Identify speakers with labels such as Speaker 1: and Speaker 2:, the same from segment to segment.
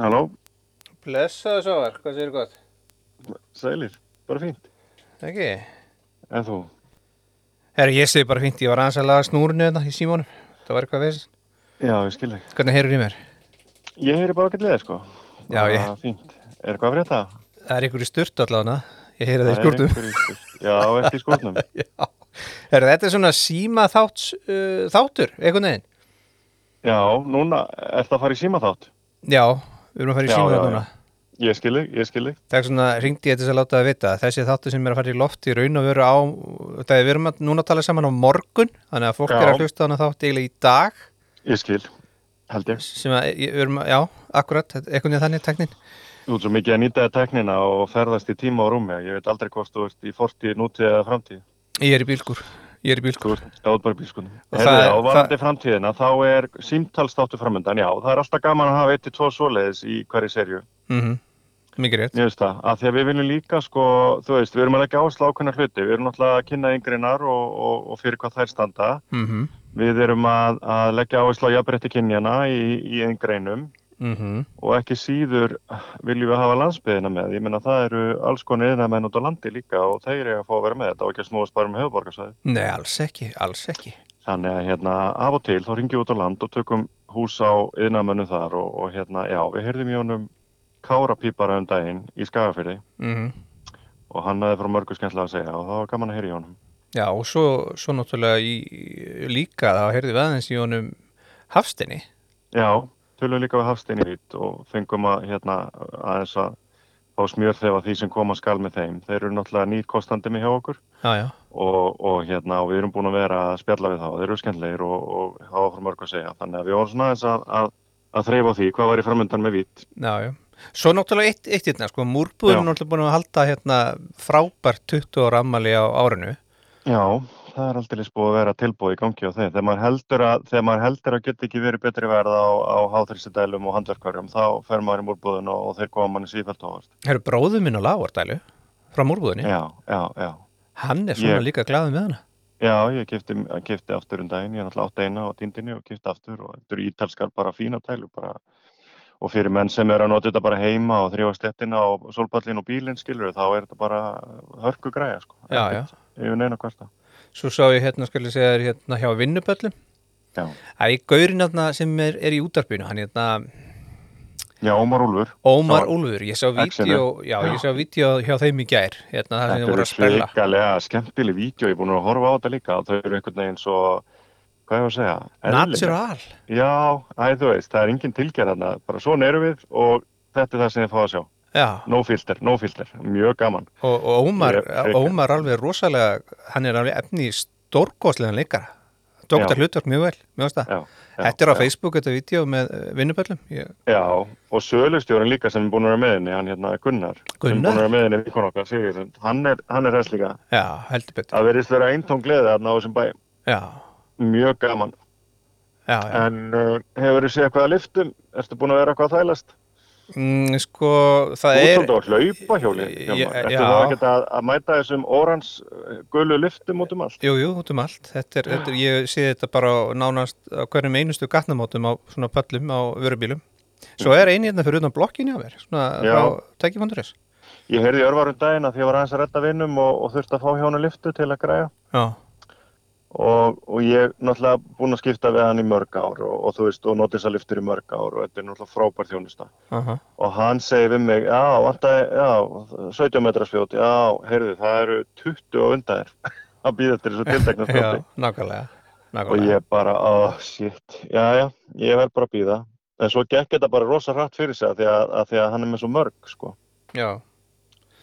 Speaker 1: Halló,
Speaker 2: Blessaðu Sávar, hvað séu gott?
Speaker 1: sælir, bara fínt.
Speaker 2: Ekki.
Speaker 1: En þú?
Speaker 2: Herra, ég segi bara fínt, ég var aðeins að laga snúrinu þetta í símónum. Það var eitthvað veist.
Speaker 1: Já, ég skil ekki.
Speaker 2: Hvernig heyrur í mér?
Speaker 1: Ég heyri bara gætið þér, sko.
Speaker 2: Já, ég-
Speaker 1: Bara Fínt. Er hvað að frétta?
Speaker 2: Það er einhverju sturt allavega. Ég heyri það í
Speaker 1: er
Speaker 2: skjórnum.
Speaker 1: einhver í skúrnum. Já, eftir í skúrnum.
Speaker 2: Já. Herra, þetta er svona síma þátts, uh, þáttur, einhvern veginn.
Speaker 1: Já, núna ertu að fara í símaþátt.
Speaker 2: Já, við erum að fara í
Speaker 1: Já,
Speaker 2: síma
Speaker 1: já,
Speaker 2: þátt
Speaker 1: já.
Speaker 2: núna.
Speaker 1: Ég skil ekki, ég skil ekki.
Speaker 2: Það er svona, ringdi ég til þess að láta það vita. Þessi þáttur sem er að fara í loft í raun og veru á, það er við erum að núna að tala saman á morgun, þannig að fólk
Speaker 1: Já.
Speaker 2: er að hlusta á hana þátt eiginlega í dag.
Speaker 1: Ég skil, held ég.
Speaker 2: sem að, ég- við erum að, já, akkurat, þetta- einhvern veginn þannig teknin.
Speaker 1: Þú ert svo mikið að nýta teknina og ferðast í tíma og rúmi. Ég veit aldrei hvort þú ert í fortíð, nútíð eða framtíð.
Speaker 2: Ég er í bílgur, ég er í bílgur.
Speaker 1: Þú ert stáð bara í bílskunum.
Speaker 2: Og
Speaker 1: Herðu,
Speaker 2: það-
Speaker 1: á varandi framtíðina, þá er símtalstáttu framöndan, já. Það er alltaf gaman að hafa 1-2 svoleiðis í hverju serju.
Speaker 2: Mm Mikið rétt.
Speaker 1: Mér finnst það, að því að við viljum líka sko, þú veist, við erum alveg ekki áherslu ákveðna hluti, við erum náttúrulega að kynna yngrinar og, og, og fyrir hvað þær standa.
Speaker 2: Mm -hmm.
Speaker 1: Við erum að, að leggja áherslu á jafnbreytti kynjana í, í yngreinum
Speaker 2: Mhm.
Speaker 1: og ekki síður viljum við hafa landsbyðina með. Ég menna það eru alls konar yðnamenn út á landi líka og þeir eru að fá að vera með þetta og ekki að snúast bara um höfuborgarsæði.
Speaker 2: Nei, alls ekki, alls ekki.
Speaker 1: Þannig að hérna af og til þá ringjum við út á land og tökum hús á yðnamennu þar og, og hérna, já, við heyrðum í honum kárapípara um daginn í Skagafyrði.
Speaker 2: Mm
Speaker 1: og hann hafði frá mörgu skemmtilega að segja og það var gaman að heyra í honum.
Speaker 2: Já, og svo, svo náttúrulega í, líka, þá heyrði við aðeins í honum Hafstinni.
Speaker 1: Já, tölum líka við Hafstein í rít og fengum að hérna aðeins að fá smjör þegar því sem koma skal með þeim. Þeir eru náttúrulega nýr kostandi með hjá okkur
Speaker 2: Já, já,
Speaker 1: og, og hérna og við erum búin að vera að spjalla við þá. Þeir eru skemmtilegir og, og hafa frá mörgu að segja. Þannig að við vorum svona aðeins að, að, að þreifa á því hvað var í framöndan með vít.
Speaker 2: já, já. Svo náttúrulega eitt, eitt hérna, sko, múrbúður er
Speaker 1: Já.
Speaker 2: náttúrulega búin að halda hérna frábært 20 ára ammali á árinu.
Speaker 1: Já, það er aldrei búið að vera tilbúið í gangi á þeim. Þegar maður heldur að, þegar maður heldur að geta ekki verið betri verð á, á háþrýstidælum og handverkvarjum, þá fer maður í múrbúðun og, og þeir koma manni sífælt ofast.
Speaker 2: Herru, bróður minn á Lágardælu, frá múrbúðinni,
Speaker 1: Já, já, já.
Speaker 2: hann er svona
Speaker 1: Ég-
Speaker 2: líka glaðið með hana.
Speaker 1: Já, ég kefti, kefti aftur um daginn, ég er náttúrulega átt eina á tindinni og kefti aftur og þetta eru ítalskar bara fína tælu bara og fyrir menn sem eru að nota þetta bara heima og þrjóða stettina og solpallin og bílinn skilur þá er þetta bara hörku græja sko.
Speaker 2: Já, já.
Speaker 1: Yfir neina hversta.
Speaker 2: Svo sá ég hérna, skal ég segja þér, hérna hjá vinnuböllum.
Speaker 1: Já,
Speaker 2: Það er gaurinn hérna sem er, er í útarpinu, hann hérna
Speaker 1: já Ómar Úlfur.
Speaker 2: Ómar
Speaker 1: Já.
Speaker 2: Úlfur, ég sá vídeo,
Speaker 1: Excellent.
Speaker 2: já,
Speaker 1: Já.
Speaker 2: ég sá vídeo hjá þeim í gær, hérna það sem þau
Speaker 1: Þetta
Speaker 2: voru
Speaker 1: eru
Speaker 2: að sprella.
Speaker 1: svikalega skemmtileg vídeo, ég er búin að horfa á þetta líka og þau eru einhvern veginn svo, hvað ég var að segja? Eðlileg.
Speaker 2: Natural.
Speaker 1: Já, æ, þú veist, það er engin tilgerðarna, bara svona eru við og þetta er það sem þið fá að sjá.
Speaker 2: Já,
Speaker 1: No filter, no filter, mjög gaman.
Speaker 2: og, og Ómar,
Speaker 1: Ég- ég-
Speaker 2: Ómar alveg rosalega, hann er alveg efni í stórkostlegan leikara. Tók
Speaker 1: Já.
Speaker 2: þetta hlutverk mjög vel, mjög veist það.
Speaker 1: Já, já,
Speaker 2: Þetta er á
Speaker 1: já.
Speaker 2: Facebook, þetta vídeo með eh, vinnuböllum. Ég-
Speaker 1: Já, og sölustjórin líka sem er búin að vera með henni, hann hérna Gunnar. Sem er
Speaker 2: Gunnar?
Speaker 1: búin að vera með henni vikon okkar, Sigurðund. Hann er, hann er þess líka.
Speaker 2: Já, heldur betur.
Speaker 1: Það verðist vera eintón gleði þarna á þessum bæ.
Speaker 2: Já,
Speaker 1: Mjög gaman.
Speaker 2: já, já.
Speaker 1: En uh, hefur þú séð eitthvað að liftum? Ertu búin að vera eitthvað að þælast?
Speaker 2: Mm, sko,
Speaker 1: Þú
Speaker 2: það
Speaker 1: ert
Speaker 2: er...
Speaker 1: svolítið á hlaupahjóli.
Speaker 2: Ég-
Speaker 1: Hjálmar.
Speaker 2: ég-
Speaker 1: Ertu
Speaker 2: já.
Speaker 1: þá ekkert að, að mæta þessum orans gullu liftum út um allt?
Speaker 2: Jú, jú, út um allt. Þetta er, þetta er, ég sé þetta bara á nánast á hverjum einustu gatnamótum á svona pöllum á vörubílum. Svo er eini hérna fyrir utan blokkinni á mér,
Speaker 1: Já.
Speaker 2: svona frá tækifondurins.
Speaker 1: Ég heyrði í örvarum daginn að því að ég var aðeins að redda vinnum og, og þurfti að fá hjá hana liftu til að græja.
Speaker 2: Já,
Speaker 1: og, og ég náttúrulega búin að skipta við hann í mörg ár og, og þú veist, og notið þess að liftur í mörg ár og þetta er náttúrulega frábær þjónusta
Speaker 2: aha,
Speaker 1: og hann segi við mig, já, vantaði, já 17 metra spjót, já, heyrðu það eru 20 og undæðir að býða til þessu tiltekna
Speaker 2: já,
Speaker 1: spjóti
Speaker 2: nákvæmlega,
Speaker 1: og
Speaker 2: nákvæmlega.
Speaker 1: ég bara, oh shit já, já, ég verð bara að býða en svo gekk þetta bara rosa hratt fyrir sig að því að, að, því að hann er með svo mörg, sko
Speaker 2: Já.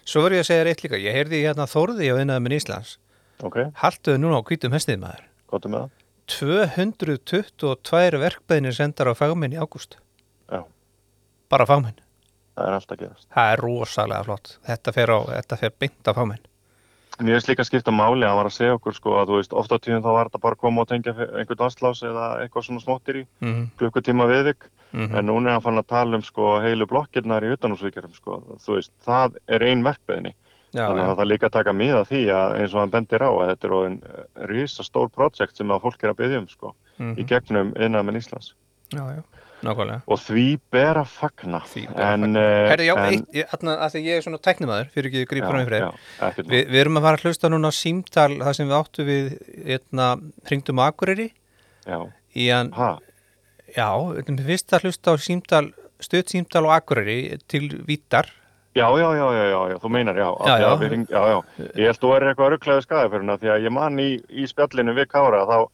Speaker 2: Svo verður ég að segja þér eitt líka, ég heyrði hérna Þórði á vinnaði minn Íslands.
Speaker 1: ok, um
Speaker 2: Haltuðu núna á hvítum hestið maður.
Speaker 1: gottum með
Speaker 2: 222 verkbæðinir sendar á fagminn í ágúst.
Speaker 1: það já,
Speaker 2: Bara fagminn.
Speaker 1: það er alltaf gerast
Speaker 2: Það er rosalega flott. Þetta fer, á, þetta fer beint á fagminn.
Speaker 1: Mér finnst líka að skipta máli að hann var að segja okkur sko að þú veist, ofta tíðum þá var þetta bara að koma og tengja einhvern vasslás eða eitthvað svona smóttir í
Speaker 2: Mm
Speaker 1: klukkutíma viðvik
Speaker 2: Mhm.
Speaker 1: en núna er hann fann að tala um sko heilu blokkirnar í utanhúsvíkjarum sko, þú veist, það er ein verkbeðinni
Speaker 2: Já,
Speaker 1: þannig að
Speaker 2: já,
Speaker 1: það er líka að taka mið af því að eins og hann bendir á að þetta er orðin eh, risastór projekt sem að fólk er að byggja um sko
Speaker 2: Mhm.
Speaker 1: í gegnum innað með Íslands
Speaker 2: já, já. nákvæmlega
Speaker 3: og því ber að fagna
Speaker 2: Því ber að
Speaker 3: en,
Speaker 2: Herri, já,
Speaker 3: Eh, en-
Speaker 2: eitt, ég, þarna, að því ég er svona tæknimaður fyrir ekki að grípa fram í fyrir
Speaker 3: já, ekkert mál.
Speaker 2: Vi, við erum að fara að hlusta núna á símtal það sem við áttu við hérna, hringdum á Akureyri
Speaker 3: já,
Speaker 2: í hann,
Speaker 3: ha,
Speaker 2: já, við fyrst að hlusta á símtal, stöðt símtal á Akureyri til Vítar
Speaker 3: já, já, já, já, já, já, þú meinar, já, af
Speaker 2: Já,
Speaker 3: því
Speaker 2: já.
Speaker 3: að við hring- já, já. Ég held þú er eitthvað rugglaði skæðafyruna því að ég man í, í spjallinu við Kára þá,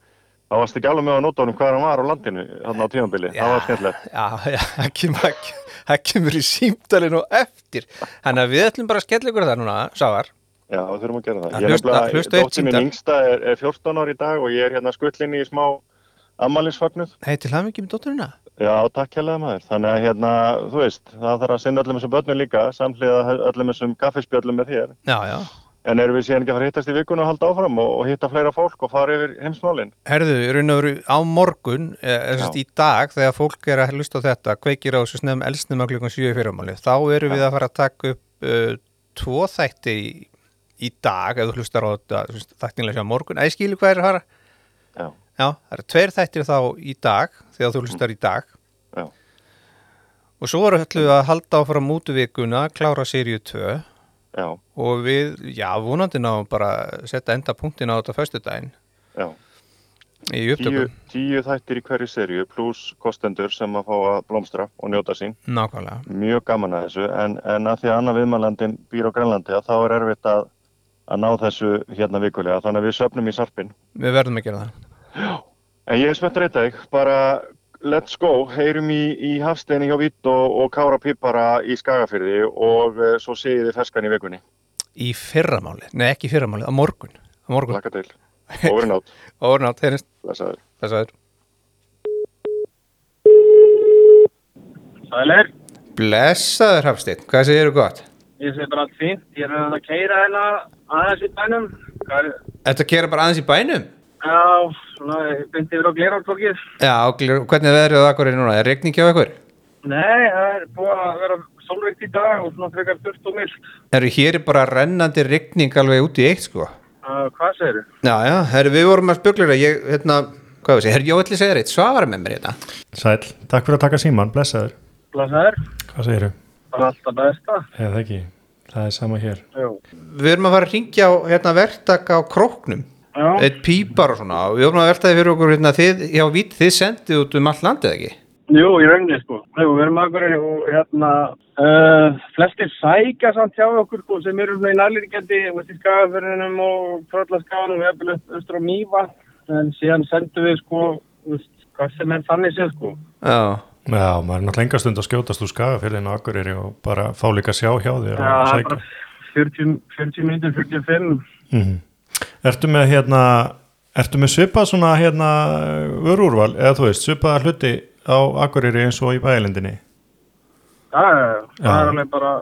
Speaker 3: þá varst ekki alveg með á nótunum hvað hann var á landinu þarna á tímanbili, það var skemmtilegt.
Speaker 2: Já, já, það kemur, það kemur í símtalinu og eftir Þannig að við ætlum bara að skella ykkur það núna, Sávar
Speaker 3: Já, við þurfum að gera það.
Speaker 2: Að
Speaker 3: Ég er
Speaker 2: hlusta-
Speaker 3: nefnilega-
Speaker 2: hlusta eitt
Speaker 3: Dóttir mín
Speaker 2: símtal.
Speaker 3: yngsta er, er 14 ár í dag og ég er hérna skullin í smá ammalinsfagnuð.
Speaker 2: Hei, til það mikið með dótturina
Speaker 3: Já, takk hérlega maður. Þannig að hérna, þú veist, það þarf að sinna öllum þessum börnum líka, samhliða öllum þessum kaffespjöllum með þér.
Speaker 2: Já, já,
Speaker 3: En erum við síðan ekki að fara að hittast í vikuna og halda áfram og, og hitta fleira fólk og fara yfir heimsmálinn?
Speaker 2: herðu, í raun og veru á morgun eh, já.
Speaker 3: Já.
Speaker 2: í dag þegar fólk er að hlusta á þetta kveikir á þessu snefum elsnum að klukkan 7 í fyrramáli þá erum við að fara að taka upp uh, tvo þætti í, í dag ef þú hlustar á þetta sem sagt, þættinlega sjá morgun, að ég skilu hvað er að fara
Speaker 3: Já,
Speaker 2: Já, það eru tveir þættir þá í dag þegar þú hlustar í dag
Speaker 3: já,
Speaker 2: og svo erum við að halda áfram mútuvikuna klára sériu 2
Speaker 3: já,
Speaker 2: og við, já, vonandi ná bara að setja enda punktin á þetta föstudaginn
Speaker 3: já.
Speaker 2: í
Speaker 3: Tíu,
Speaker 2: upptökum,
Speaker 3: tíu þættir í hverju serju pluss kostendur sem að fá að blómstra og njóta sín.
Speaker 2: nákvæmlega
Speaker 3: Mjög gaman að þessu en, en að því að annar viðmælandin býr á Grænlandi að þá er erfitt að, að ná þessu hérna vikulega. Þannig að við söfnum í sarpin.
Speaker 2: Við verðum að gera það.
Speaker 3: En ég er spennt að reyta þig, bara let's go, heyrum í, í Hafsteini hjá Vitt og, og Kára Pípara í Skagafyrði og uh, svo séu þið ferskan í vikunni,
Speaker 2: Í fyrramáli, nei ekki í fyrramáli, á morgun. Á morgun.
Speaker 3: laka til, overin átt,
Speaker 2: Órnátt, heyrnist,
Speaker 3: blessaður.
Speaker 2: blessaður.
Speaker 4: Sælir,
Speaker 2: Blessaður, Hafsteinn, hvað segir þú gott?
Speaker 4: ég sé bara allt fínt, ég er að reyna að keira hérna aðeins í bænum. Hvað er,
Speaker 2: Þetta gera bara aðeins í bænum?
Speaker 4: já, svona, ég byndi yfir á gleraartorkið.
Speaker 2: Já, og glir- hvernig er veðrið á Akureyri núna? Er regning hjá ykkur?
Speaker 4: Nei, það er búið að vera sólrikt í dag og svona frekar þurft og mild.
Speaker 2: Eru hér er bara rennandi regning alveg út í eitt, sko?
Speaker 4: Uh, hvað segir þau?
Speaker 2: Já, já, herri, við vorum að spuglera, ég, hérna, hvað veist ég, herri, ég ætli að segja þér eitt, svara með mér hérna.
Speaker 1: Sæl, takk fyrir að taka síman, blessaður.
Speaker 4: Blasaður,
Speaker 1: Hvað segirðu?
Speaker 4: bara alltaf besta.
Speaker 1: Eða ekki, það er sama hér.
Speaker 4: Jú.
Speaker 2: Við erum að fara að ringja á, hérna, verktaka á króknum.
Speaker 4: Já,
Speaker 2: eitt pípar og svona og við vorum að velta því fyrir okkur hérna, þið, já, vít, þið sendið út um allt landið ekki
Speaker 4: jú, í rauninni sko. Jú, við erum aðgurinn og hérna, uh, flestir sækja samt hjá okkur sko sem eru svona í nærlýrgjandi, veist í skagafyrinum og tröllaskaganum, við erum upp austur á mýva, en síðan sendum við sko, veist, hvað sem er þannig séð sko.
Speaker 2: já,
Speaker 1: Já, maður er náttúrulega enga stund að skjótast úr skagafjörðin og akkurýri og bara fá líka að sjá hjá þér
Speaker 4: Já,
Speaker 1: og
Speaker 4: það er
Speaker 1: sækja.
Speaker 4: bara 40, 40 minnir, 45.
Speaker 1: Mhm. Ertu með hérna, ertu með svipað svona hérna vörúrval, eða þú veist, svipað hluti á akkurýri eins og í bæilendinni?
Speaker 4: Já, já, já. það
Speaker 1: Já.
Speaker 4: er alveg bara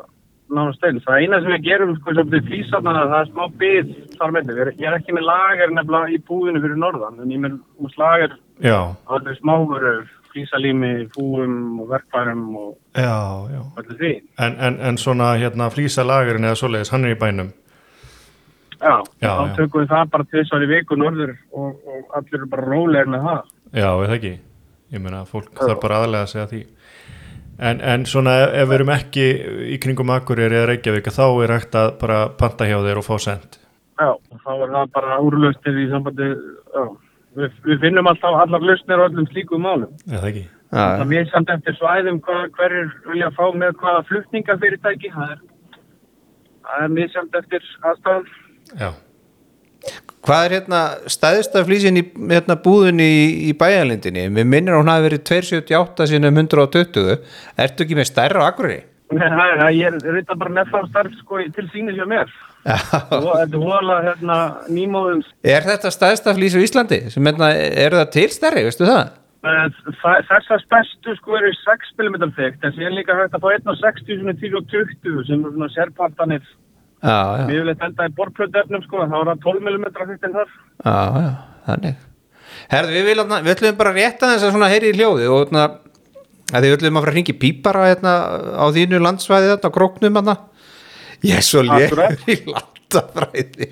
Speaker 4: nánast eins. Það eina sem við gerum, sko, sem við físarnar, það er smá bið þar með þetta. Ég er ekki með lager nefnilega í búðinu fyrir norðan, en ég er með hús lager
Speaker 1: Já,
Speaker 4: á allir smáverur, flísalími, fúum og verkfærum og
Speaker 1: já, já.
Speaker 4: öllu því.
Speaker 1: En, en, en svona hérna flísalagurinn eða svoleiðis, hann er í bænum?
Speaker 4: Já,
Speaker 1: Já,
Speaker 4: þá
Speaker 1: já.
Speaker 4: tökum við það bara tvisvar í viku norður og, og allir eru bara rólegir með það.
Speaker 1: Já, eða ekki. Ég meina, fólk þarf bara aðlega að segja því. En, en svona ef, ef við erum ekki í kringum Akureyri eða Reykjavík þá er hægt að bara panta hjá þér og fá send.
Speaker 4: Já, og þá er það bara úrlaustir í sambandi, já. Við, við finnum alltaf allar lausnir á öllum slíkum málum.
Speaker 1: Eða ekki?
Speaker 2: já,
Speaker 4: Það mér samt eftir svæðum hvað, hverjir vilja fá með hvaða flutningafyrirtæki. Það er, það er mér samt eftir aðstæðum.
Speaker 1: Já.
Speaker 2: hvað er hérna stæðista flýsin í hérna, búðin í, í bæjarlindinni, við minnir að hún hafi verið 278 sinum 120 ertu ekki með stærra á akkurri?
Speaker 4: Nei, það er- Ég er reynda bara með þá starf sko, í- til sínis hjá mér. Og þetta er voðalega hérna, nýmóðum.
Speaker 2: er þetta stæðista flýs á Íslandi sem hérna, er það til stærri, veistu það?
Speaker 4: Eh, þa- Þessar stærstu sko eru 6 mm þygt, en síðan líka hægt að fá 1,60 sem er 10,20 sem eru svona sérpartanir.
Speaker 2: já, já,
Speaker 4: Mjög vilja enda í borplöðdefnum sko, þá er það 12 mm þygt en þar.
Speaker 2: já, já þannig Herðu, við, viljum, við ætlum bara rétta þess að svona heyri í hljóði og hérna, að þið ætlum að fara að ringi pípara hérna, á þínu landsvæði þetta, á króknum hérna. Ég er svo léður
Speaker 4: Akkurat.
Speaker 2: í land
Speaker 5: Hugmyndafræði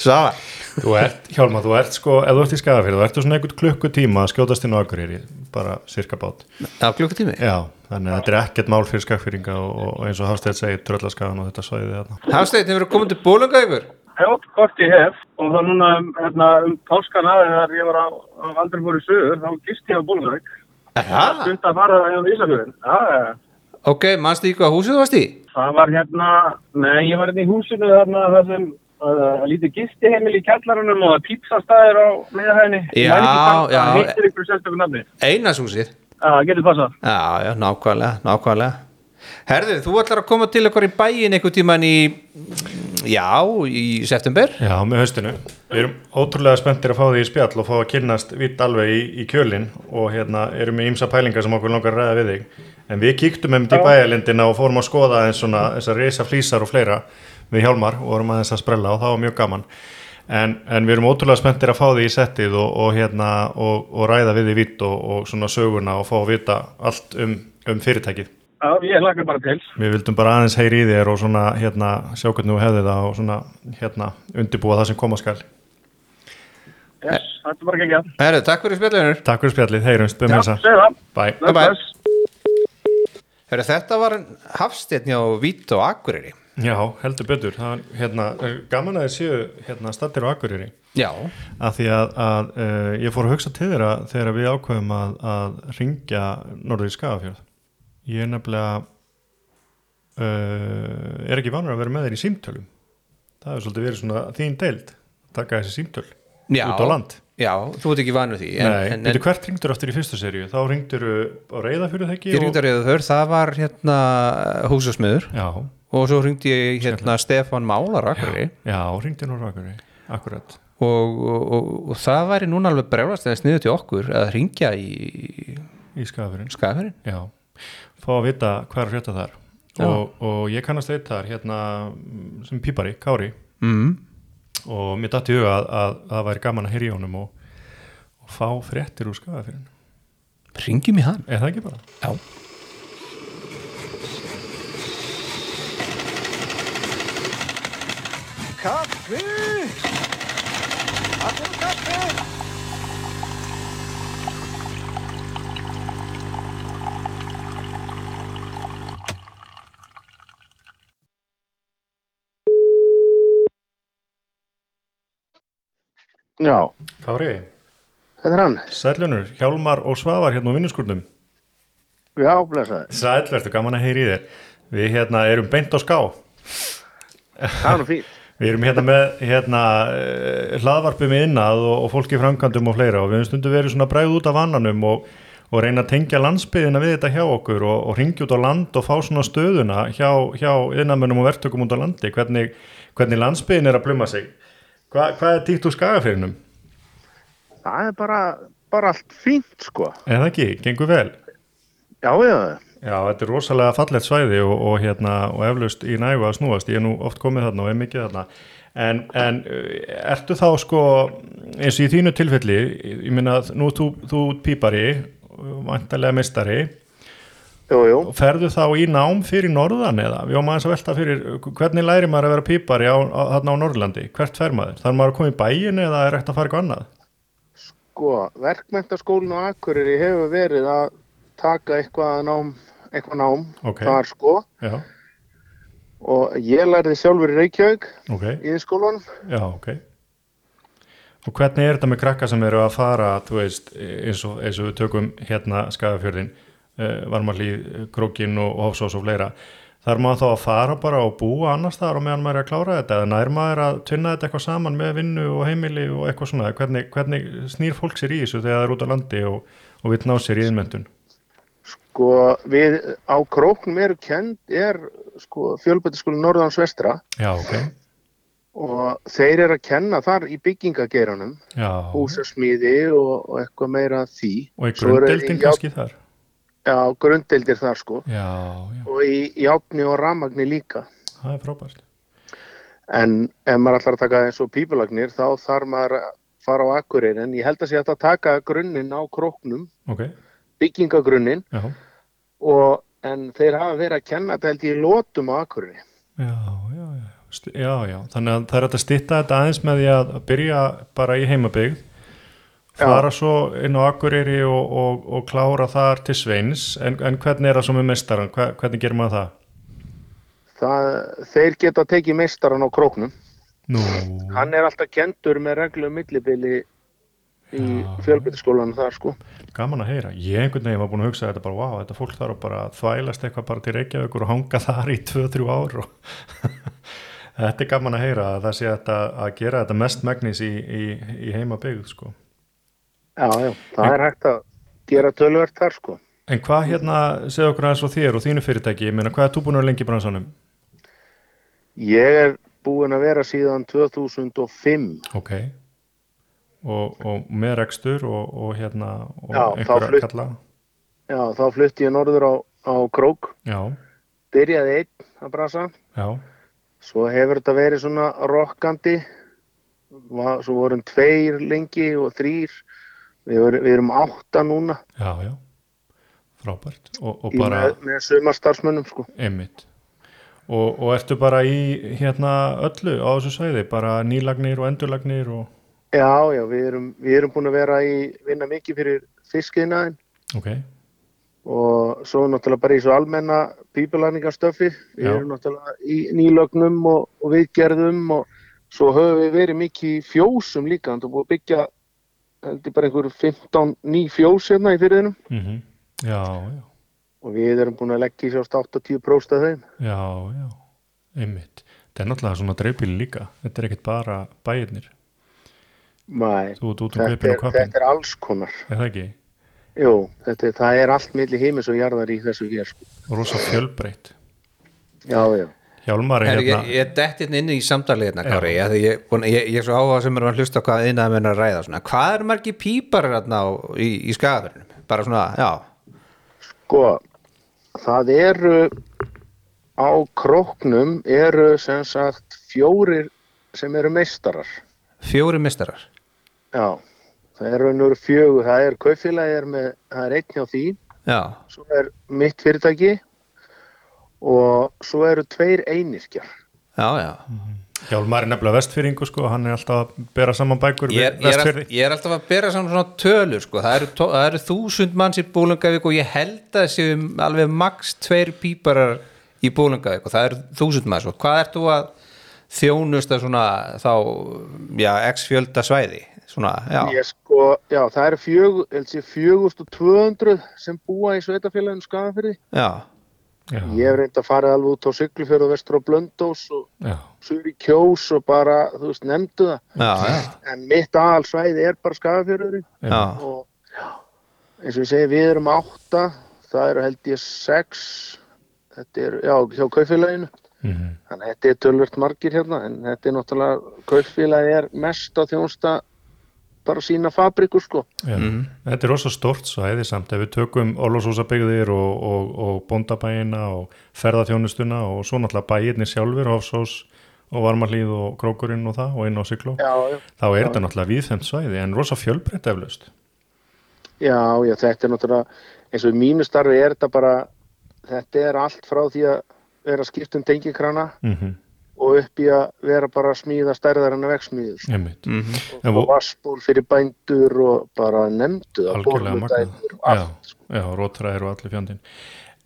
Speaker 5: Svavar
Speaker 1: Þú ert, Hjálma, þú ert sko, ef þú ert í skafafyrð, þú ert svona einhvern klukkutíma að skjótast inn á Akureyri, bara sirka bát.
Speaker 2: af klukkutími
Speaker 1: Já, þannig að þetta er ekkert mál fyrir skakfyrringa og, og eins og Hafstæð segir tröllaskagan og þetta svæðið þarna.
Speaker 5: Hafsteinn, hefur þú komið til bólunga ykkur?
Speaker 4: Já, hvort ég hef og þá núna hérna, um páskana þegar ég var á, á aldrei fóru sögur þá gist ég á Bólungavík
Speaker 5: Aha.
Speaker 4: stund að fara það í Ísafjörðin Já, já, já.
Speaker 5: Ok, mannstu í hvað húsið þú varst í?
Speaker 4: það var hérna nei, ég var hérna í húsinu þarna þar sem uh, lítið gisti heimil í kjallarunum og það pítsastæðir á miðahæðinni
Speaker 5: Já, já.
Speaker 4: Það heitir ykkur sérstökum nafni
Speaker 5: Einarshúsið
Speaker 4: Já, það getur passað
Speaker 5: Já, já, nákvæmlega, nákvæmlega Herðu, þú ætlar að koma til okkar í bæin einhvern tíman í já, í september
Speaker 1: Já, með haustinu. Við erum ótrúlega spenntir að fá því í spjall og fá að kynnast vitt alveg í, í kjölinn og hérna erum við ímsa pælingar sem okkur langar að ræða við þig. En við kíktum einmitt í bæjalindina og fórum að skoða eins svona þessar reysa flýsar og fleira við Hjálmar og vorum aðeins að sprella og það var mjög gaman. En, en við erum ótrúlega spenntir að fá því í settið og, og, hérna, og, og ræða við því vitt og, og svona söguna og fá að vita allt um, um fyrirtækið.
Speaker 4: Já, ég hlakka bara til
Speaker 1: Við vildum bara aðeins heyri í þér og svona hérna sjá hvernig þú hefði það og svona hérna undirbúa það sem koma skal.
Speaker 4: yes, Þetta er bara ekki að
Speaker 5: Herðu, takk fyrir spjallunir
Speaker 1: Takk fyrir spjallið, heyrumst, bæðum
Speaker 4: Já,
Speaker 1: þessa.
Speaker 4: segðu það
Speaker 1: Bæ.
Speaker 4: Bless,
Speaker 5: Bye-bye.
Speaker 4: bless.
Speaker 5: Herðu, þetta var Hafsteinn á Vít og Akureyri
Speaker 1: Já, heldur betur. Það var hérna, er gaman að þið séu hérna stattir á Akureyri.
Speaker 5: Já,
Speaker 1: Af því að, að uh, ég fór að hugsa til þeirra þegar við ákveðum að, að ringja norður í Skagafjörð. Ég er nefnilega, uh, er ekki vanur að vera með þeir í símtölum. Það er svolítið verið svona þín deild, taka þessi símtöl
Speaker 5: já
Speaker 1: út á land.
Speaker 5: Já, þú ert ekki vanur því en,
Speaker 1: Nei, en,
Speaker 5: en, en,
Speaker 1: hvert ringdur aftur í fyrstu seríu? Þá ringdur á reyðafjörðu þekki
Speaker 5: Ég ringdi að reyða þör, það var hérna húsasmiður
Speaker 1: Já,
Speaker 5: og svo ringdi ég hérna Stefan Málar á Akureyri
Speaker 1: já, ringdur á rakunni, akkurat.
Speaker 5: og, og, og, og það væri núna alveg breflast eða sniðu til okkur að ringja í
Speaker 1: Í skafurinn, sko.
Speaker 5: skafurinn
Speaker 1: já. Fá að vita hvað er að frétta þar. Og, og ég kannast eitt þar, hérna, mm, sem pípari, Kári.
Speaker 5: mm.
Speaker 1: Og mér datt í huga að, að, að það væri gaman að heyri í honum og, og fá fréttir úr skafurinn.
Speaker 5: Ringjum í hann
Speaker 1: Er það ekki bara?
Speaker 5: Já
Speaker 6: Já,
Speaker 1: Kári,
Speaker 6: þetta er hann.
Speaker 1: Sælunur, Hjálmar og Svavar hérna á vinnuskurnum.
Speaker 6: Já, blessaði.
Speaker 1: Sæl, ertu gaman að heyri í þér. Við hérna erum beint á ská.
Speaker 6: Það er nú fínt.
Speaker 1: Við erum hérna með hérna, eh, hlaðvarpi með innað og, og fólki framkvæmdum og fleira og við höfum stundum verið svona bræð út af vannanum og, og reyna að tengja landsbyðina við þetta hjá okkur og, og ringja út á land og fá svona stöðuna hjá, hjá innamönnum og verktökum út á landi, hvernig, hvernig landsbyðin er að pluma sig. Hva, hvað er dýtt úr skagafyrinum?
Speaker 6: Það er bara, bara allt fínt, sko.
Speaker 1: Er það ekki? Gengur vel?
Speaker 6: Já, já,
Speaker 1: Já, þetta er rosalega fallegt svæði og, og, hérna, og eflaust í nægu að snúast. Ég er nú oft komið þarna og er mikið þarna. En, en uh, ertu þá sko, eins og í þínu tilfelli, ég minna að nú ert þú, þú ert pípari, vantarlega mistari,
Speaker 6: jú, jú.
Speaker 1: ferðu þá í nám fyrir norðan eða? Við ámæðum að velta fyrir, hvernig læri maður að vera pípari á, á, þarna á Norðlandi? Hvert fer maður? Þarf maður að koma í bæin eða er eftir að fara eitthvað annað?
Speaker 6: Sko, verkmentaskólinu á Akureyri hefur verið að taka eitthvað nám, eitthvað nám
Speaker 1: Ok.
Speaker 6: þar, sko.
Speaker 1: Já,
Speaker 6: Og ég lærði sjálfur í Reykjavík
Speaker 1: ok,
Speaker 6: í skólanum.
Speaker 1: já, ok. Og hvernig er þetta með krakka sem eru að fara, þú veist, eins og, eins og við tökum hérna skafafjörðin, uh, varmalíð, krókin og hofsós og fleira. Þarf maður þá að fara bara og búa annars þar og meðan maður er að klára þetta eða nær maður að tvinna þetta eitthvað saman með vinnu og heimili og eitthvað svona? Hvernig, hvernig snýr fólk sér í þessu þegar það er út á landi og, og vil ná sér í innmyndun?
Speaker 6: Sko, við á króknum eru kend, er, sko, fjölbættaskólinu Norðans Vestra.
Speaker 1: Já, ok.
Speaker 6: Og þeir eru að kenna þar í byggingageiranum,
Speaker 1: Já,
Speaker 6: húsasmíði og, og eitthvað meira af því.
Speaker 1: og í
Speaker 6: Svo eru-
Speaker 1: grundeldin
Speaker 6: já,
Speaker 1: kannski þar?
Speaker 6: Já, grundeldir þar sko
Speaker 1: Já, já,
Speaker 6: og í játni og ramagni líka.
Speaker 1: það er frábært.
Speaker 6: En ef maður ætlar að taka eins og pípulagnir þá þarf maður að fara á akkurinn en ég held að sé hægt að taka grunnin á króknum,
Speaker 1: Ok,
Speaker 6: byggingagrunnin
Speaker 1: já,
Speaker 6: og en þeir hafa verið að kenna þetta held ég í lótum á akkurinn.
Speaker 1: já, já, já, St- Já, já, þannig að það er hægt að stytta þetta aðeins með því að byrja bara í heimabyggð fara svo inn á Akureyri og, og, og klára þar til Sveins en, en hvernig er það svo með meistaran? Hver, hvernig gerir maður það?
Speaker 6: Það, þeir geta tekið meistaran á króknum.
Speaker 1: Nú,
Speaker 6: Hann er alltaf kentur með reglu um millibili í fjölbyrðskólanum þar sko.
Speaker 1: gaman að heyra ég einhvern veginn var búin að hugsa þetta bara wow, þetta fólk þarf bara að þvælast eitthvað bara til Reykjavíkur og hanga þar í 2-3 ár og þetta er gaman að heyra að það sé þetta að gera þetta mest megnis í, í, í heimabyggð sko
Speaker 6: Já, já, það er hægt að gera tölvert þar sko.
Speaker 1: En hvað hérna, segðu okkur aðeins frá þér og þínu fyrirtæki, ég meina hvað er þú búin að vera lengi í bransanum?
Speaker 6: Ég er búin að vera síðan 2005.
Speaker 1: Ok. Og, og með rekstur og, og hérna og
Speaker 6: Já,
Speaker 1: einhverja
Speaker 6: þá flutt-
Speaker 1: kalla?
Speaker 6: Já, þá flutti ég norður á, á krók,
Speaker 1: Já,
Speaker 6: byrjaði einn að brasa.
Speaker 1: já,
Speaker 6: Svo hefur þetta verið svona rokkandi. Va- Svo vorum tveir lengi og þrýr. Við, vorum- við erum átta núna
Speaker 1: já, já. Frábært. Og, og
Speaker 6: í
Speaker 1: bara,
Speaker 6: með, með sumarstarfsmönnum sko.
Speaker 1: einmitt. Og, og ertu bara í hérna öllu á þessu sæði, bara nýlagnir og endurlagnir og,
Speaker 6: Já, já, við erum, við erum búin að vera í vinna mikið fyrir fiskiðnaðin
Speaker 1: ok,
Speaker 6: og svo náttúrulega bara í svo almenna pípulagningastöfi. Við
Speaker 1: Já.
Speaker 6: erum náttúrulega í nýlögnum og, og viðgerðum og svo höfum við verið mikið í fjósum líka. Það er búið að byggja heldur bara einhver 15 ný fjós hérna í fyrirðinum
Speaker 1: mhm, já, já.
Speaker 6: og við erum búin að leggja í sjást 80 próst af þeim.
Speaker 1: Já, já, einmitt. Þetta er náttúrulega svona dreifbíli líka. Þetta er ekkert bara bæirnir.
Speaker 6: Mæ,
Speaker 1: Þú ert út um
Speaker 6: þetta
Speaker 1: kaupin
Speaker 6: er,
Speaker 1: og kappin.
Speaker 6: þetta er alls konar.
Speaker 1: Er það ekki?
Speaker 6: Jú, þetta er, það er allt milli heimis og jarðar í þessu hér. Sko.
Speaker 1: Rosa fjölbreytt.
Speaker 6: Já, já.
Speaker 1: Hjálmar er
Speaker 5: Herri,
Speaker 1: hérna.
Speaker 5: ég, ég detti hérna inn í samtalið hérna, Kári, ég, ég, búin, ég, ég er svo áhuga sem er að hlusta á hvað inn að að ræða svona. hvað er margir pípar hérna á, í, í skagafyrnum, bara svona, já
Speaker 6: Sko, það eru á króknum eru sem sagt fjórir sem eru meistarar.
Speaker 5: fjóri mistarar
Speaker 6: Já, það eru nú fjögur, það er kaufélagi er með, það er einn hjá því,
Speaker 5: já,
Speaker 6: svo er mitt fyrirtæki og svo eru tveir einirkjar.
Speaker 5: já, já
Speaker 1: Hjálmar er nefnilega vestfyrringu sko, hann er alltaf að bera saman bækur
Speaker 5: ég er,
Speaker 1: við
Speaker 5: ég, er, all-
Speaker 1: vestfyrri.
Speaker 5: ég er alltaf að bera saman svona tölur sko. það, eru tó, það eru þúsund manns í Bólungavík og ég held að séum alveg max tveir píparar í Bólungavík og það eru þúsund manns og hvað ert þú að þjónusta svona þá, já, x fjölda svæði svona, já,
Speaker 6: Ég sko, já, það eru fjögur, held sé fjögust og 200 sem búa í sveitafélaginu skafafyrði.
Speaker 5: já
Speaker 1: Já,
Speaker 6: Ég hef reynd að fara alveg út á Siglufjörðu og vestur á Blöndós og
Speaker 1: já,
Speaker 6: Suður í Kjós og bara, þú veist, nefndu það.
Speaker 5: já, já,
Speaker 6: en mitt aðalsvæði er bara skafafjörðurinn
Speaker 5: já.
Speaker 6: og eins og ég segi við erum átta það eru held ég sex þetta er, já, hjá kaupfélaginu
Speaker 1: mm
Speaker 6: þannig að þetta er tölvört margir hérna en þetta er náttúrulega, kaupfélagi er mest að þjónsta bara sína fabrikur sko
Speaker 1: já.
Speaker 5: Mhm.
Speaker 1: Þetta er rosa stort svæði samt ef við tökum Orlósúsabyggðir og, og, og bóndabæina og ferðaþjónustuna og svo náttúrulega bæirnir sjálfur, Hofsós og Varmalíð og Krókurinn og það og inn á Sigló.
Speaker 6: já, já,
Speaker 1: Þá er þetta náttúrulega viðfemt svæði en rosa fjölbreytt eflaust.
Speaker 6: já, já, þetta er náttúrulega eins og í mínu starfi er þetta bara þetta er allt frá því að vera skipt um tengikrana
Speaker 1: Mm
Speaker 6: og upp í að vera bara að smíða stærðar en að veksmíður sko.
Speaker 1: Einmitt.
Speaker 5: Mhm.
Speaker 1: En
Speaker 6: og
Speaker 1: vo-
Speaker 6: vassból fyrir bændur og bara nefndu það,
Speaker 1: algjörlega
Speaker 6: borludæður og
Speaker 1: magnað.
Speaker 6: allt. sko.
Speaker 1: já, já, rótræðir og allir fjandinn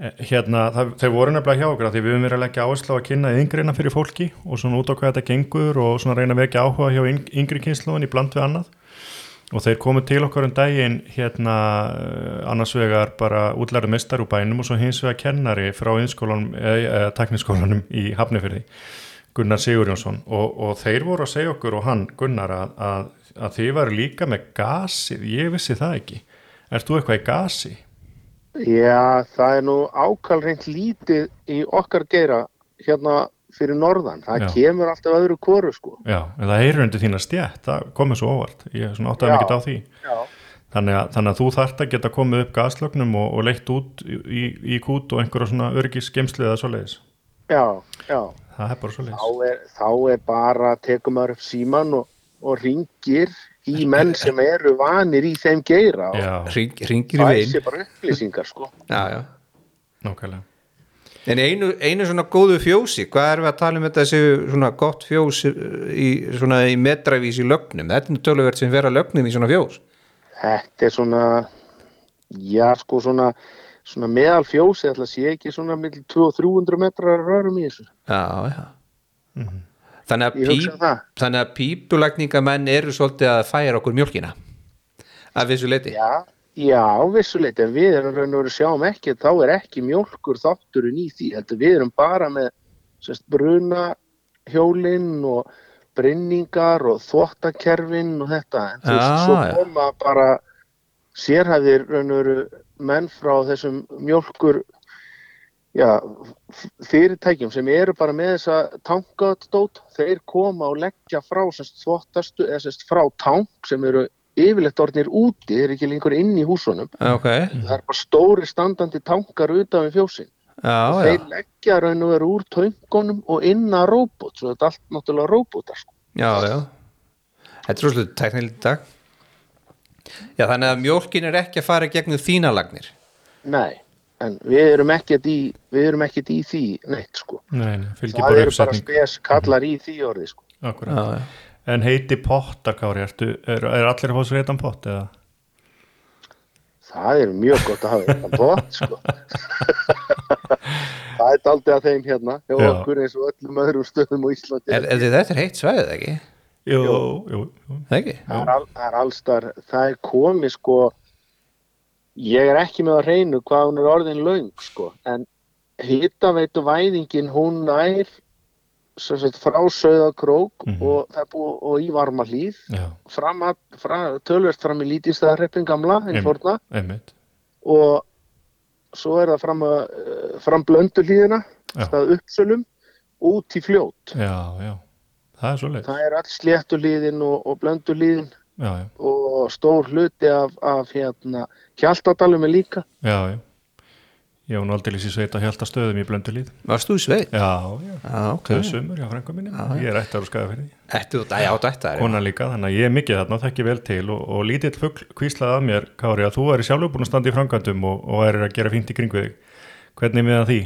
Speaker 1: Eh, hérna, það, þeir voru nefnilega hjá okkur af því við höfum verið að leggja áherslu á að kynna yngreina fyrir fólki og svona út á hvað þetta gengur og svona reyna að vekja áhuga hjá yng- yngri kynsluðan í bland við annað og þeir komu til okkar um daginn hérna eh, annars vegar bara útlæri mestar úr bænum og svo hins vegar kennari frá innskólanum, eða e, tekniskólanum í Hafnifyrði, Gunnar Sigurjónsson og, og þeir voru að segja okkur og hann Gunnar að, að, að þið varu líka með gasið, ég vissi það ekki Ert þú eitthvað í gasi?
Speaker 6: Já, það er nú ákal reynd lítið í okkar geira hérna fyrir norðan. Það
Speaker 1: Já.
Speaker 6: kemur alltaf öðru kóru sko.
Speaker 1: Já, en það heyrur undir þína stjætt, það komið svo óvart, ég svona áttaði
Speaker 6: Já.
Speaker 1: mikið á því.
Speaker 6: Já.
Speaker 1: Þannig að, þannig að þú þart að geta komið upp gaslögnum og, og leitt út í, í, í kút og einhverja svona örgisgeimslu eða svoleiðis.
Speaker 6: Já, já.
Speaker 1: Það er bara svoleiðis.
Speaker 6: Þá er, þá er bara að tekum maður upp síman og, og ringir í menn sem eru vanir í þeim geira og
Speaker 1: Já,
Speaker 5: Hring, hringir í
Speaker 6: það
Speaker 5: vin
Speaker 6: sé bara upplýsingar sko.
Speaker 5: já, já.
Speaker 1: nákvæmlega.
Speaker 5: En einu, einu svona góðu fjósi, hvað erum við að tala um þetta séu svona gott fjós eh, í, svona í metravís í lögnum? Þetta er nú töluvert sem vera lögnum í svona fjós.
Speaker 6: Þetta er svona, já sko svona, svona meðal fjósi, ætla að sé ekki svona millir 200-300 metrar rörum í þessu.
Speaker 5: Já, já. Þannig,
Speaker 6: Mhm. Ég
Speaker 5: að
Speaker 6: hugsa
Speaker 5: píp,
Speaker 6: það.
Speaker 5: þannig að pípulagningamenn eru svolítið að færa okkur mjólkina af þessu leiti.
Speaker 6: Já, já, vissuleit, en við erum raun og veru sjáum ekki, þá er ekki mjólkur þátturinn í því, þetta við erum bara með sérst, bruna hjólinn og brinningar og þvottakerfin og þetta, en þú veist,
Speaker 5: Ah,
Speaker 6: svo
Speaker 5: já.
Speaker 6: koma bara sérhæðir raun og veru menn frá þessum mjólkur já, f- fyrirtækjum sem eru bara með þessa tankaðdót, þeir koma og leggja frá sérst þvottastu eða sérst frá tank sem eru yfirleitt orðnir úti, þeir eru ekki lengur inn í húsunum
Speaker 5: Ok,
Speaker 6: það er bara stóri standandi tankar utan við fjósin
Speaker 5: já, já.
Speaker 6: þeir leggja raun og veru úr töngunum og inn að róbót, svo þetta er allt náttúrulega róbótar sko.
Speaker 5: Já, já. Þetta er svolítið teknilegt í dag. Já, þannig að mjólkin er ekki að fara í gegnum þína lagnir.
Speaker 6: nei, en við erum ekkert í við erum ekkert í því neitt sko
Speaker 1: Nei, nei, fylgir
Speaker 6: það
Speaker 1: bara
Speaker 6: eru bara
Speaker 1: uppsetning
Speaker 6: spes kallar í því orði sko
Speaker 1: Akkurat.
Speaker 5: Já, já.
Speaker 1: En heiti potta, Kári, ertu, er, er allir að fá sér heitan pott eða?
Speaker 6: það er mjög gott að hafa þetta bótt sko það er aldrei að þeim hérna hjá
Speaker 1: Já.
Speaker 6: okkur eins og öllum öðrum stöðum á Íslandi
Speaker 5: Er, er, þetta er heitt svæðið, ekki?
Speaker 1: Jú, jú, jú.
Speaker 5: Það Ekki?
Speaker 6: það er, al, það er allstar, það er komið sko ég er ekki með að reynu hvað hún er orðin löng sko, en hitaveitu væðingin hún nær sem sagt, frá söðakrók
Speaker 1: Mhm.
Speaker 6: og, það er búið, og í varma hlýð
Speaker 1: Já,
Speaker 6: fram að, fra, tölvert fram í lítistæðarreppin gamla, hinn
Speaker 1: Einmitt.
Speaker 6: fórna
Speaker 1: einmitt.
Speaker 6: og svo er það fram, að, eh, fram blöndu hlýðina
Speaker 1: Já.
Speaker 6: stað uppsölum út í fljót
Speaker 1: Já, já. Það er svo leið.
Speaker 6: það er all sléttu hlýðin og, og blöndu hlýðin
Speaker 1: Já, já,
Speaker 6: og stór hluti af, af hérna, Hjaltadalum er líka
Speaker 1: já, já. Ég hún aldrei lýsi sveita hjálta stöðum í blöndu líð.
Speaker 5: Varst þú í sveit?
Speaker 1: Já, já.
Speaker 5: Já, ok.
Speaker 1: Þau sumur, já, frænka minni. Ég er ættar og skæða fyrir því.
Speaker 5: Ættu þú, já, þetta er.
Speaker 1: Kona líka, þannig að ég er mikið þarna og þekki vel til og, og lítill fugg kvíslaði að mér, Kári, að þú væri sjálfur búin að standa í framkvæmdum og, og væri að gera fínt í kringu þig. Hvernig miðan því?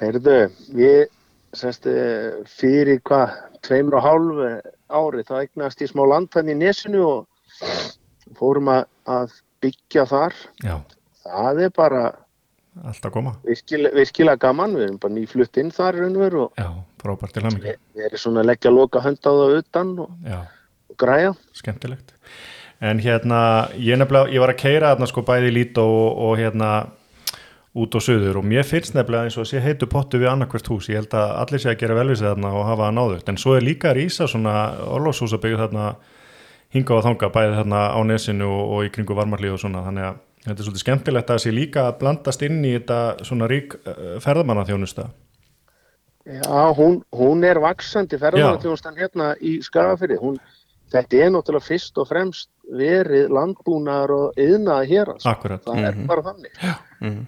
Speaker 6: Herðu, við semst, eh, fyrir hvað tveimur og hálfu ári þá eignast ég smá land hann í nesinu og fórum að, að byggja þar
Speaker 1: Já,
Speaker 6: það er bara
Speaker 1: allt að koma.
Speaker 6: virkilega, virkilega gaman við erum bara nýflutt inn þar raunver og
Speaker 1: Já, frábært til hamingi.
Speaker 6: við, við erum svona að leggja loka hönd á það utan og,
Speaker 1: Já.
Speaker 6: og græja
Speaker 1: skemmtilegt en hérna, ég nefnilega, ég var að keira hérna sko bæði lít og, og hérna út og suður og mér finnst nefnilega eins og sé heitu pottu við annarkvert hús ég held að allir sé að gera velvísið þarna og hafa það náðugt en svo er líka að rýsa svona orlofshús að byggja þarna hinga og þanga bæði þarna á nesinu og, og í kringu varmarlíð og svona þannig að þetta er svolítið skemmtilegt að það sé líka að blandast inn í þetta svona rík eh, ferðamanna þjónusta
Speaker 6: Já, hún, hún er vaksandi ferðarþjónustan hérna í Skagafyrði. Hún, þetta er náttúrulega fyrst og fremst verið landbúnar og yðnaði hér. Sko.
Speaker 1: akkurat, Mhm.
Speaker 6: Það er bara þannig.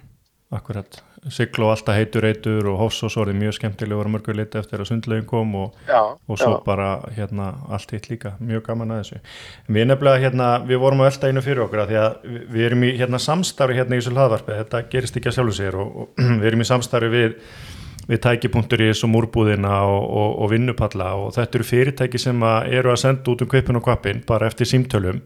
Speaker 1: akkurat sigl og alltaf heitur eitur og hoss og svo er mjög skemmtilegur að mörgur leita eftir að sundlaugin kom og,
Speaker 6: Já,
Speaker 1: og svo
Speaker 6: já.
Speaker 1: bara hérna allt hitt líka, mjög gaman að þessu En við nefnilega hérna, við vorum að velta einu fyrir okkur af því að við- við erum í hérna samstarfi hérna í þessu hlaðvarpi, þetta gerist ekki að sjálfu sér og, og við erum í samstarfi við við tækipunktur í þessu múrbúðina og, og, og vinnupalla og þetta eru fyrirtæki sem að eru að senda út um kaupin og kappin bara eftir símtölum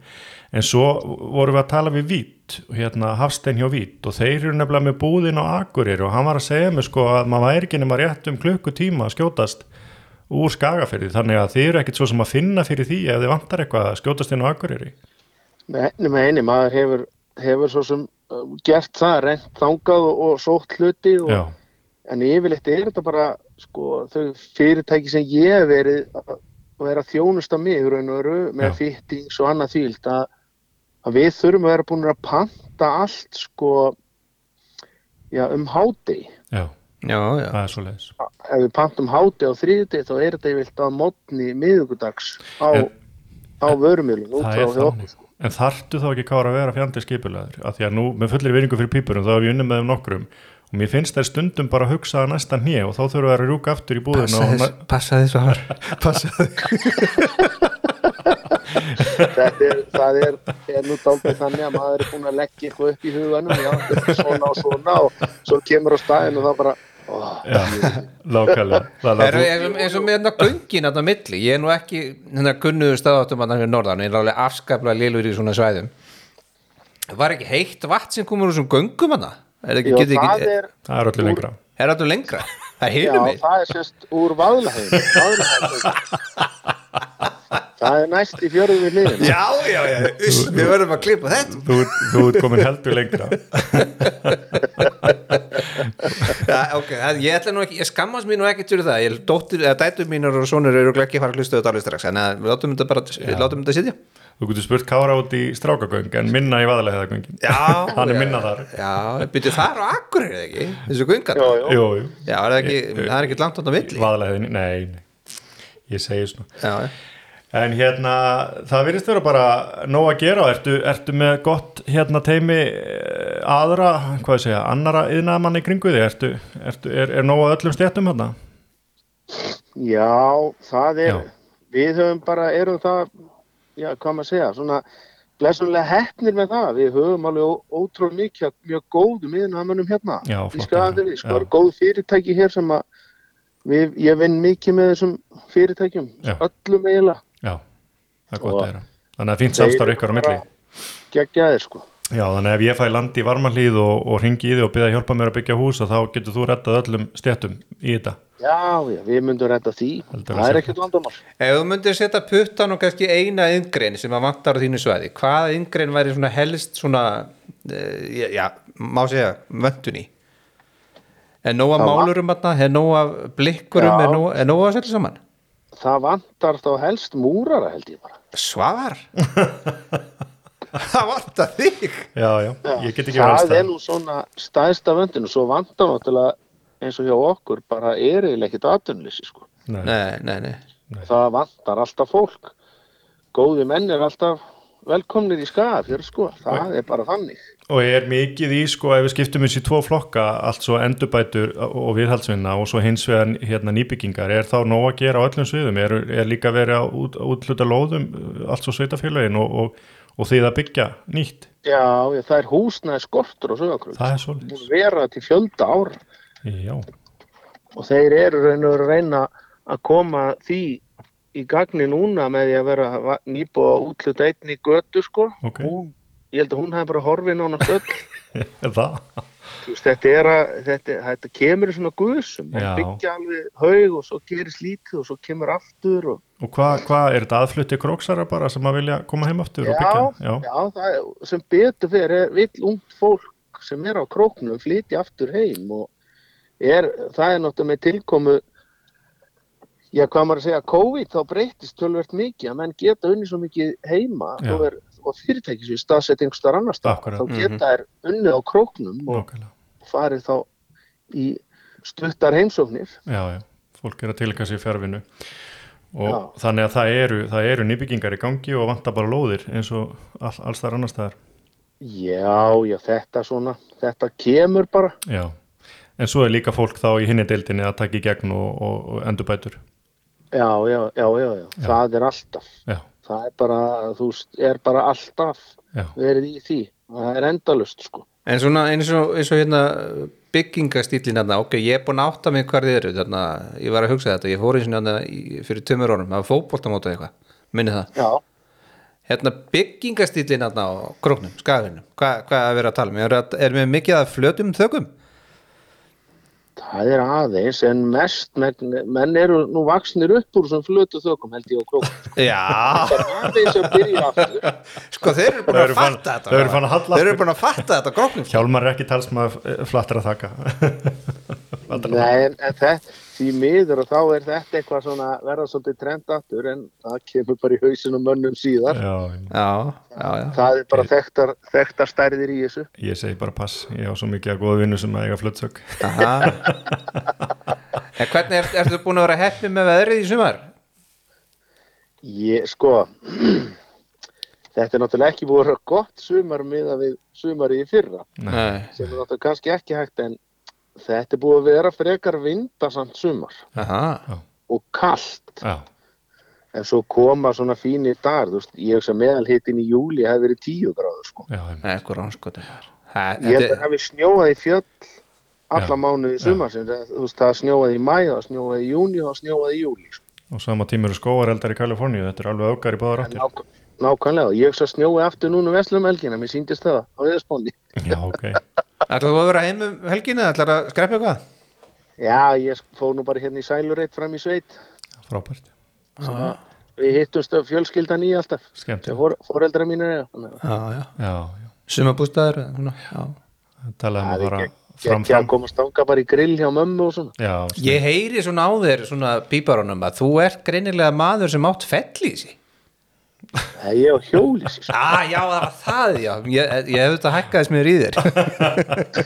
Speaker 1: en svo vorum við að tala við Vít hérna Hafstein hjá Vít og þeir eru nefnilega með búðin á Akurir og hann var að segja mér sko að maður væri ekki nema rétt um klukkutíma að skjótast úr skagaferði þannig að þið eru ekkit svo sem að finna fyrir því ef þið vantar eitthvað að skjótast inn á Akureyri
Speaker 6: Nei, meini, maður hefur, hefur svo sem uh, gert það, rent þangað og, og sótt hluti. Og,
Speaker 1: Já,
Speaker 6: En yfirleitt er þetta bara, sko, þau fyrirtæki sem ég hef verið að að vera að þjónusta mig, raun og veru, með
Speaker 1: Já.
Speaker 6: fittings og annað þvíld, að, að við þurfum að vera búin að panta allt, sko, já, um hádegi.
Speaker 1: já,
Speaker 5: Já, já.
Speaker 1: það er svo leiðis
Speaker 6: Ef við pantum hádegi á þriðjudegi, þá er þetta yfirleitt að mótni miðugudags á,
Speaker 1: En-
Speaker 6: á vörumilun, út
Speaker 1: það
Speaker 6: frá
Speaker 1: er
Speaker 6: því okkur,
Speaker 1: þannig
Speaker 6: sko.
Speaker 1: en þartu þá ekki kára að vera fjandi skipulaður af því að nú með fullir viringu fyrir pípurum þá hef ég unnið með þeim nokkrum og mér finnst þær stundum bara að hugsa að næsta hnið og þá þurfum við að rjúka aftur í búðina
Speaker 5: Passa
Speaker 1: og
Speaker 5: þess, passa þess að har. Passa þess.
Speaker 6: þetta er, það er, er nú daldið þannig að maður er búin að leggja eitthvað upp í huganum, já, þetta er svona og svona og svo kemur á staðin og það bara, ó,
Speaker 1: Lákalega Það er
Speaker 2: Er, eins, og, eins og með þetta göngin þetta á milli, ég er nú ekki hérna kunnuðu staðáttum að það er norðan ég er alveg afskaplega lilur í svona svæðum var ekki heitt vatn sem komur úr þessum göngum hana? Er það
Speaker 6: já,
Speaker 2: ekki, getið
Speaker 6: það
Speaker 2: ekki,
Speaker 6: er,
Speaker 1: það er öllu lengra
Speaker 2: er þetta lengra? Það
Speaker 6: já,
Speaker 2: hefur mig
Speaker 6: það er sérst úr vaðlaheim, vaðlaheim, það er næst í fjörðum við liðin,
Speaker 2: Já, já, já, uss, við verðum að klippa þetta
Speaker 1: Þú, þú ert komin heldur lengra
Speaker 2: Já, ok, það- ég ætla nú ekki, ég skammast mín nú ekki fyrir það, ég dóttir, eða dætur mínar og sonur eru örugglega ekki að fara að hlusta á þetta alveg strax en að, við látum þetta bara, við látum þetta sitja
Speaker 1: Þú getur spurt Kára út í strákagöng en minna í vaðalegheðagöngin
Speaker 2: Já,
Speaker 1: Hann er
Speaker 2: já.
Speaker 1: minna þar
Speaker 2: Já, byrju þar á akkur er það ekki, þessu gungar
Speaker 6: já,
Speaker 2: Já,
Speaker 6: já,
Speaker 1: Jú, jú,
Speaker 2: er það ekki, það er ekki langt átt á milli Já,
Speaker 1: vaðalegheðin, nei, nei Ég segi svona
Speaker 2: já,
Speaker 1: En hérna, það virðist vera bara nóg að gera og ertu, ertu með gott hérna teimi eh, aðra, hvað ég segja, annara yðnaðamann í kringu þig, ertu, ertu, er, er nóg að öllum stéttum hérna?
Speaker 6: Já, það er,
Speaker 1: Já.
Speaker 6: við höfum bara, erum það, já, hvað maður að segja, svona blessunlega heppnir með það. Við höfum alveg ó- ótrúlega mikið, af mjög góðum yðnaðamönnum hérna.
Speaker 1: Já,
Speaker 6: Í
Speaker 1: flott að
Speaker 6: skafið,
Speaker 1: heyra.
Speaker 6: sko, er
Speaker 1: Já.
Speaker 6: góð fyrirtæki hér sem að við, ég vinn mikið með þessum fyrirtækjum,
Speaker 1: Já.
Speaker 6: öllum eiginlega.
Speaker 1: Já, það er gott
Speaker 6: Og
Speaker 1: að heyra. Þannig að fínt samstarf ykkar á milli.
Speaker 6: Geggjaðir, sko.
Speaker 1: Já, þannig að ef ég fæ landi í varmanlíð og, og ringi í þig og byrja að hjálpa mér að byggja hús að þá getur þú rettað öllum stéttum í þetta.
Speaker 6: Já, já, við myndum redda því.
Speaker 1: Heldur að
Speaker 6: það er
Speaker 1: segja.
Speaker 6: ekkert vandamál.
Speaker 2: Ef þú myndir setja puttan og kannski eina yngrein sem að vantar á þínu svæði, hvaða yngrein væri svona helst svona, eh, já, má segja, vöntun í? Er nóg af
Speaker 6: Það var-
Speaker 2: málurum þarna, er nóg af blikkurum,
Speaker 6: Já.
Speaker 2: er nóg, er nóg að setja saman?
Speaker 6: Það vantar þá helst múrara, held ég bara.
Speaker 2: Svavar Það vantar þig
Speaker 1: Já, já, ég get ekki verið alls
Speaker 6: það er
Speaker 1: það.
Speaker 6: nú svona stæðsta vöndinu svo vantar náttúrulega eins og hjá okkur bara er eiginlega ekkert atvinnuleysi sko.
Speaker 1: Nei,
Speaker 2: Nei, nei, nei
Speaker 6: það vantar alltaf fólk góði menn er alltaf velkomnir í skafjör sko, það er bara þannig
Speaker 1: og er mikið í sko ef við skiptum þessi tvo flokka allt svo endurbætur og viðhaldsvinna og svo hins vegar hérna nýbyggingar er þá nóg að gera á öllum sviðum er, er líka verið að út, útluta lóðum uh, allt svo sveitafélagin og, og, og því að byggja nýtt
Speaker 6: já, ég, það er húsnæði skortur og sögakröld
Speaker 1: það er svolítið,
Speaker 6: búin að vera til fjölda ára
Speaker 1: já,
Speaker 6: og þeir eru raun og veru að reyna að koma því í gagni núna með því að vera nýbúið að útluta einn í götu sko
Speaker 1: ok
Speaker 6: hún, ég held að hún hafi bara horfið nánast öll
Speaker 1: það,
Speaker 6: Þú veist, þetta, er að, þetta, þetta kemur í svona guðsum,
Speaker 1: Já.
Speaker 6: það byggja alveg haug og svo gerist lítið og svo kemur aftur og
Speaker 1: og hvað hva, er þetta aðflutti króksara bara sem að vilja koma heim aftur og byggja, já,
Speaker 6: já það, er- sem betur fyrir er vill ungt fólk sem er á króknum flytja aftur heim og er, það er náttúrulega með tilkomu já hvað maður að segja COVID þá breytist tölvert mikið að menn geta unni svo mikið heima
Speaker 1: Já.
Speaker 6: og, er, og fyrirtækis við staðsetting starf annar stað,
Speaker 1: Akkurat.
Speaker 6: þá geta þær unni á króknum og
Speaker 1: nákvæmlega
Speaker 6: farið þá í stuttar heimsóknir
Speaker 1: já, já, fólk er að tilka sér fjárvinu og
Speaker 6: Já.
Speaker 1: þannig að það eru, það eru nýbyggingar í gangi og vantar bara lóðir eins og all, alls þar annars staðar
Speaker 6: Já, já, þetta svona, þetta kemur bara.
Speaker 1: Já, en svo er líka fólk þá í hinni deildinni að taka í gegn og, og, og endurbætur.
Speaker 6: Já, já, já, já, já, það er alltaf.
Speaker 1: Já,
Speaker 6: Það er bara, þú veist, er bara alltaf
Speaker 1: já,
Speaker 6: verið í því. Það er endalust, sko.
Speaker 2: En svona eins og, eins og hérna byggingastýlin hérna, ok, ég er búin að átta mig hvar þið eru, þarna, ég var að hugsa þetta ég fór eins og hérna í- fyrir tömur árum að fótboltamóta eitthvað, minni það
Speaker 6: Já,
Speaker 2: Hérna byggingastýlin hérna á króknum, skafinum, hvað hva er verið að tala um? Er, er með mikið að flötum þökum?
Speaker 6: það er aðeins, en mest, menn, menn eru nú vaksnir upp úr sem flötu þökum, held ég, og krókum.
Speaker 2: Já,
Speaker 6: Það er aðeins að byrja aftur.
Speaker 2: sko þeir eru búin
Speaker 1: Þau
Speaker 2: að
Speaker 1: eru farin-
Speaker 2: fatta þetta
Speaker 1: þau eru farin að halla
Speaker 2: Þeir eru
Speaker 1: aftur.
Speaker 2: búin að fatta þetta á króknum
Speaker 1: hjálmar er ekki talsmaður eh, flattra þakka.
Speaker 6: Nei, en, en þetta, því miður og þá er þetta eitthvað svona, verða svolítið trend aftur, en það kemur bara í hausinu mönnum síðar.
Speaker 1: já,
Speaker 2: Já, já, já
Speaker 6: Það er bara þekktar, þekktar stærðir í þessu.
Speaker 1: ég segi bara pass, ég á svo mikið að góða vinnu sem að eiga fluttsök.
Speaker 2: Aha. En hvernig er, ertu búin að vera heppi með veðrið í sumar?
Speaker 6: Ég, sko, þetta er náttúrulega ekki búið að vera gott sumar miða við sumari í fyrra
Speaker 2: Nei.
Speaker 6: sem er náttúrulega kannski ekki hægt en þetta er búið að vera frekar vindasamt sumar
Speaker 2: Aha.
Speaker 6: og kallt
Speaker 1: Já,
Speaker 6: en svo koma svona fínir dagar, þú veist, ég hugsa meðalhitin í júli hefði verið 10 gráður sko.
Speaker 1: já, einmitt.
Speaker 2: Nei, sko ránskotum
Speaker 6: ég held að það hafi snjóað í fjöll alla
Speaker 1: Já,
Speaker 6: mánuði sumar þú veist, það snjóað í mæ, það snjóað í júni og það snjóað í júli sko.
Speaker 1: og sama tíma eru skóareldar í Kaliforníu þetta er alveg öfgar í báðar
Speaker 6: En
Speaker 1: áttir
Speaker 6: nák nákvæmlega, ég hugsa snjóið aftur núna um vestlum elgina, mér síndist það á viðspónni
Speaker 1: já, ok,
Speaker 2: Ætlar þú að vera heim um helginu, ætlar að skrepa eitthvað?
Speaker 6: já, ég fór nú bara hérna í sælureitt fram í sveit
Speaker 1: frábært
Speaker 6: við hittumst af fjölskyldan í alltaf
Speaker 1: skemmt,
Speaker 6: sem
Speaker 1: já,
Speaker 6: fór, foreldra mínir eiga, þannig að-
Speaker 2: Já, já
Speaker 1: já
Speaker 2: Sumabústaður, svona, já
Speaker 1: talaðum
Speaker 6: það
Speaker 1: að
Speaker 6: er
Speaker 1: fara
Speaker 6: ekki
Speaker 1: fram
Speaker 6: ekki að
Speaker 1: fram
Speaker 6: komast þanga bara í grill hjá mömmu og svona
Speaker 1: já,
Speaker 2: Ég heyri svona á þér, svona píparunum að þú ert greinilega maður sem átt fell í sig
Speaker 6: Nei, ég á hjóli sér sko.
Speaker 2: ah, Já, það var það, já Ég, ég hef þetta hækkaðis mér í þér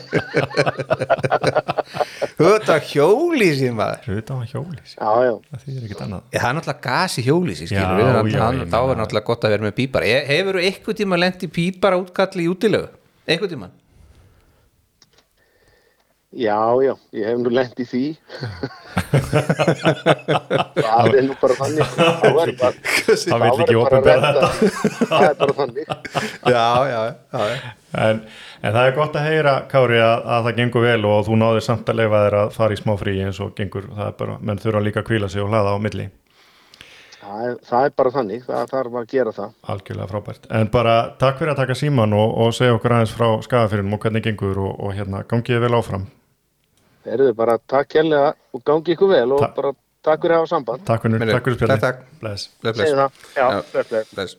Speaker 2: Þú ert að hjóli í sig, maður
Speaker 1: hluta á hjólís,
Speaker 6: já, já,
Speaker 1: það þýðir ekkert annað
Speaker 2: Ég, það er náttúrulega gas í hjóli sig,
Speaker 1: Já,
Speaker 2: skilur við, þannig
Speaker 1: já, ég
Speaker 2: að þá er
Speaker 1: meina-
Speaker 2: náttúrulega gott að vera með pípar. Ég- Hefur þú eitthvað tíma lent í pípar útkalli í útilegu? Eitthvað tíma?
Speaker 6: já, já ég hef nú lent í því það er nú bara þannig það var bara
Speaker 1: Hann vill
Speaker 6: það var
Speaker 1: ekki
Speaker 6: bara
Speaker 1: opinbera
Speaker 6: að lenda- það er bara þannig
Speaker 2: Já, já, já.
Speaker 1: en, en það er gott að heyra Kári að, að það gengur vel og þú náðir samt að leifa þér að fara í smá frí eins og gengur, það er bara, menn þurfa líka að kvíla sig og hlaða á milli,
Speaker 6: það er, það er bara þannig, það þarf að gera það
Speaker 1: algjörlega frábært en bara takk fyrir að taka síman og, og segja okkur aðeins frá skafafyrinum og hvernig gengur og, og hérna, gangiði vel áfram
Speaker 6: Erðu bara takk hérlega og gangi ykkur vel og
Speaker 1: Takk.
Speaker 6: bara takk fyrir að hafa samband.
Speaker 1: takk fyrir,
Speaker 2: Meiri,
Speaker 1: takk fyrir spjallið
Speaker 2: takk, takk.
Speaker 1: Bless.
Speaker 2: Bless,
Speaker 6: Segðu
Speaker 2: bless,
Speaker 6: það. Já,
Speaker 2: Já.
Speaker 6: bless, bless.
Speaker 2: bless.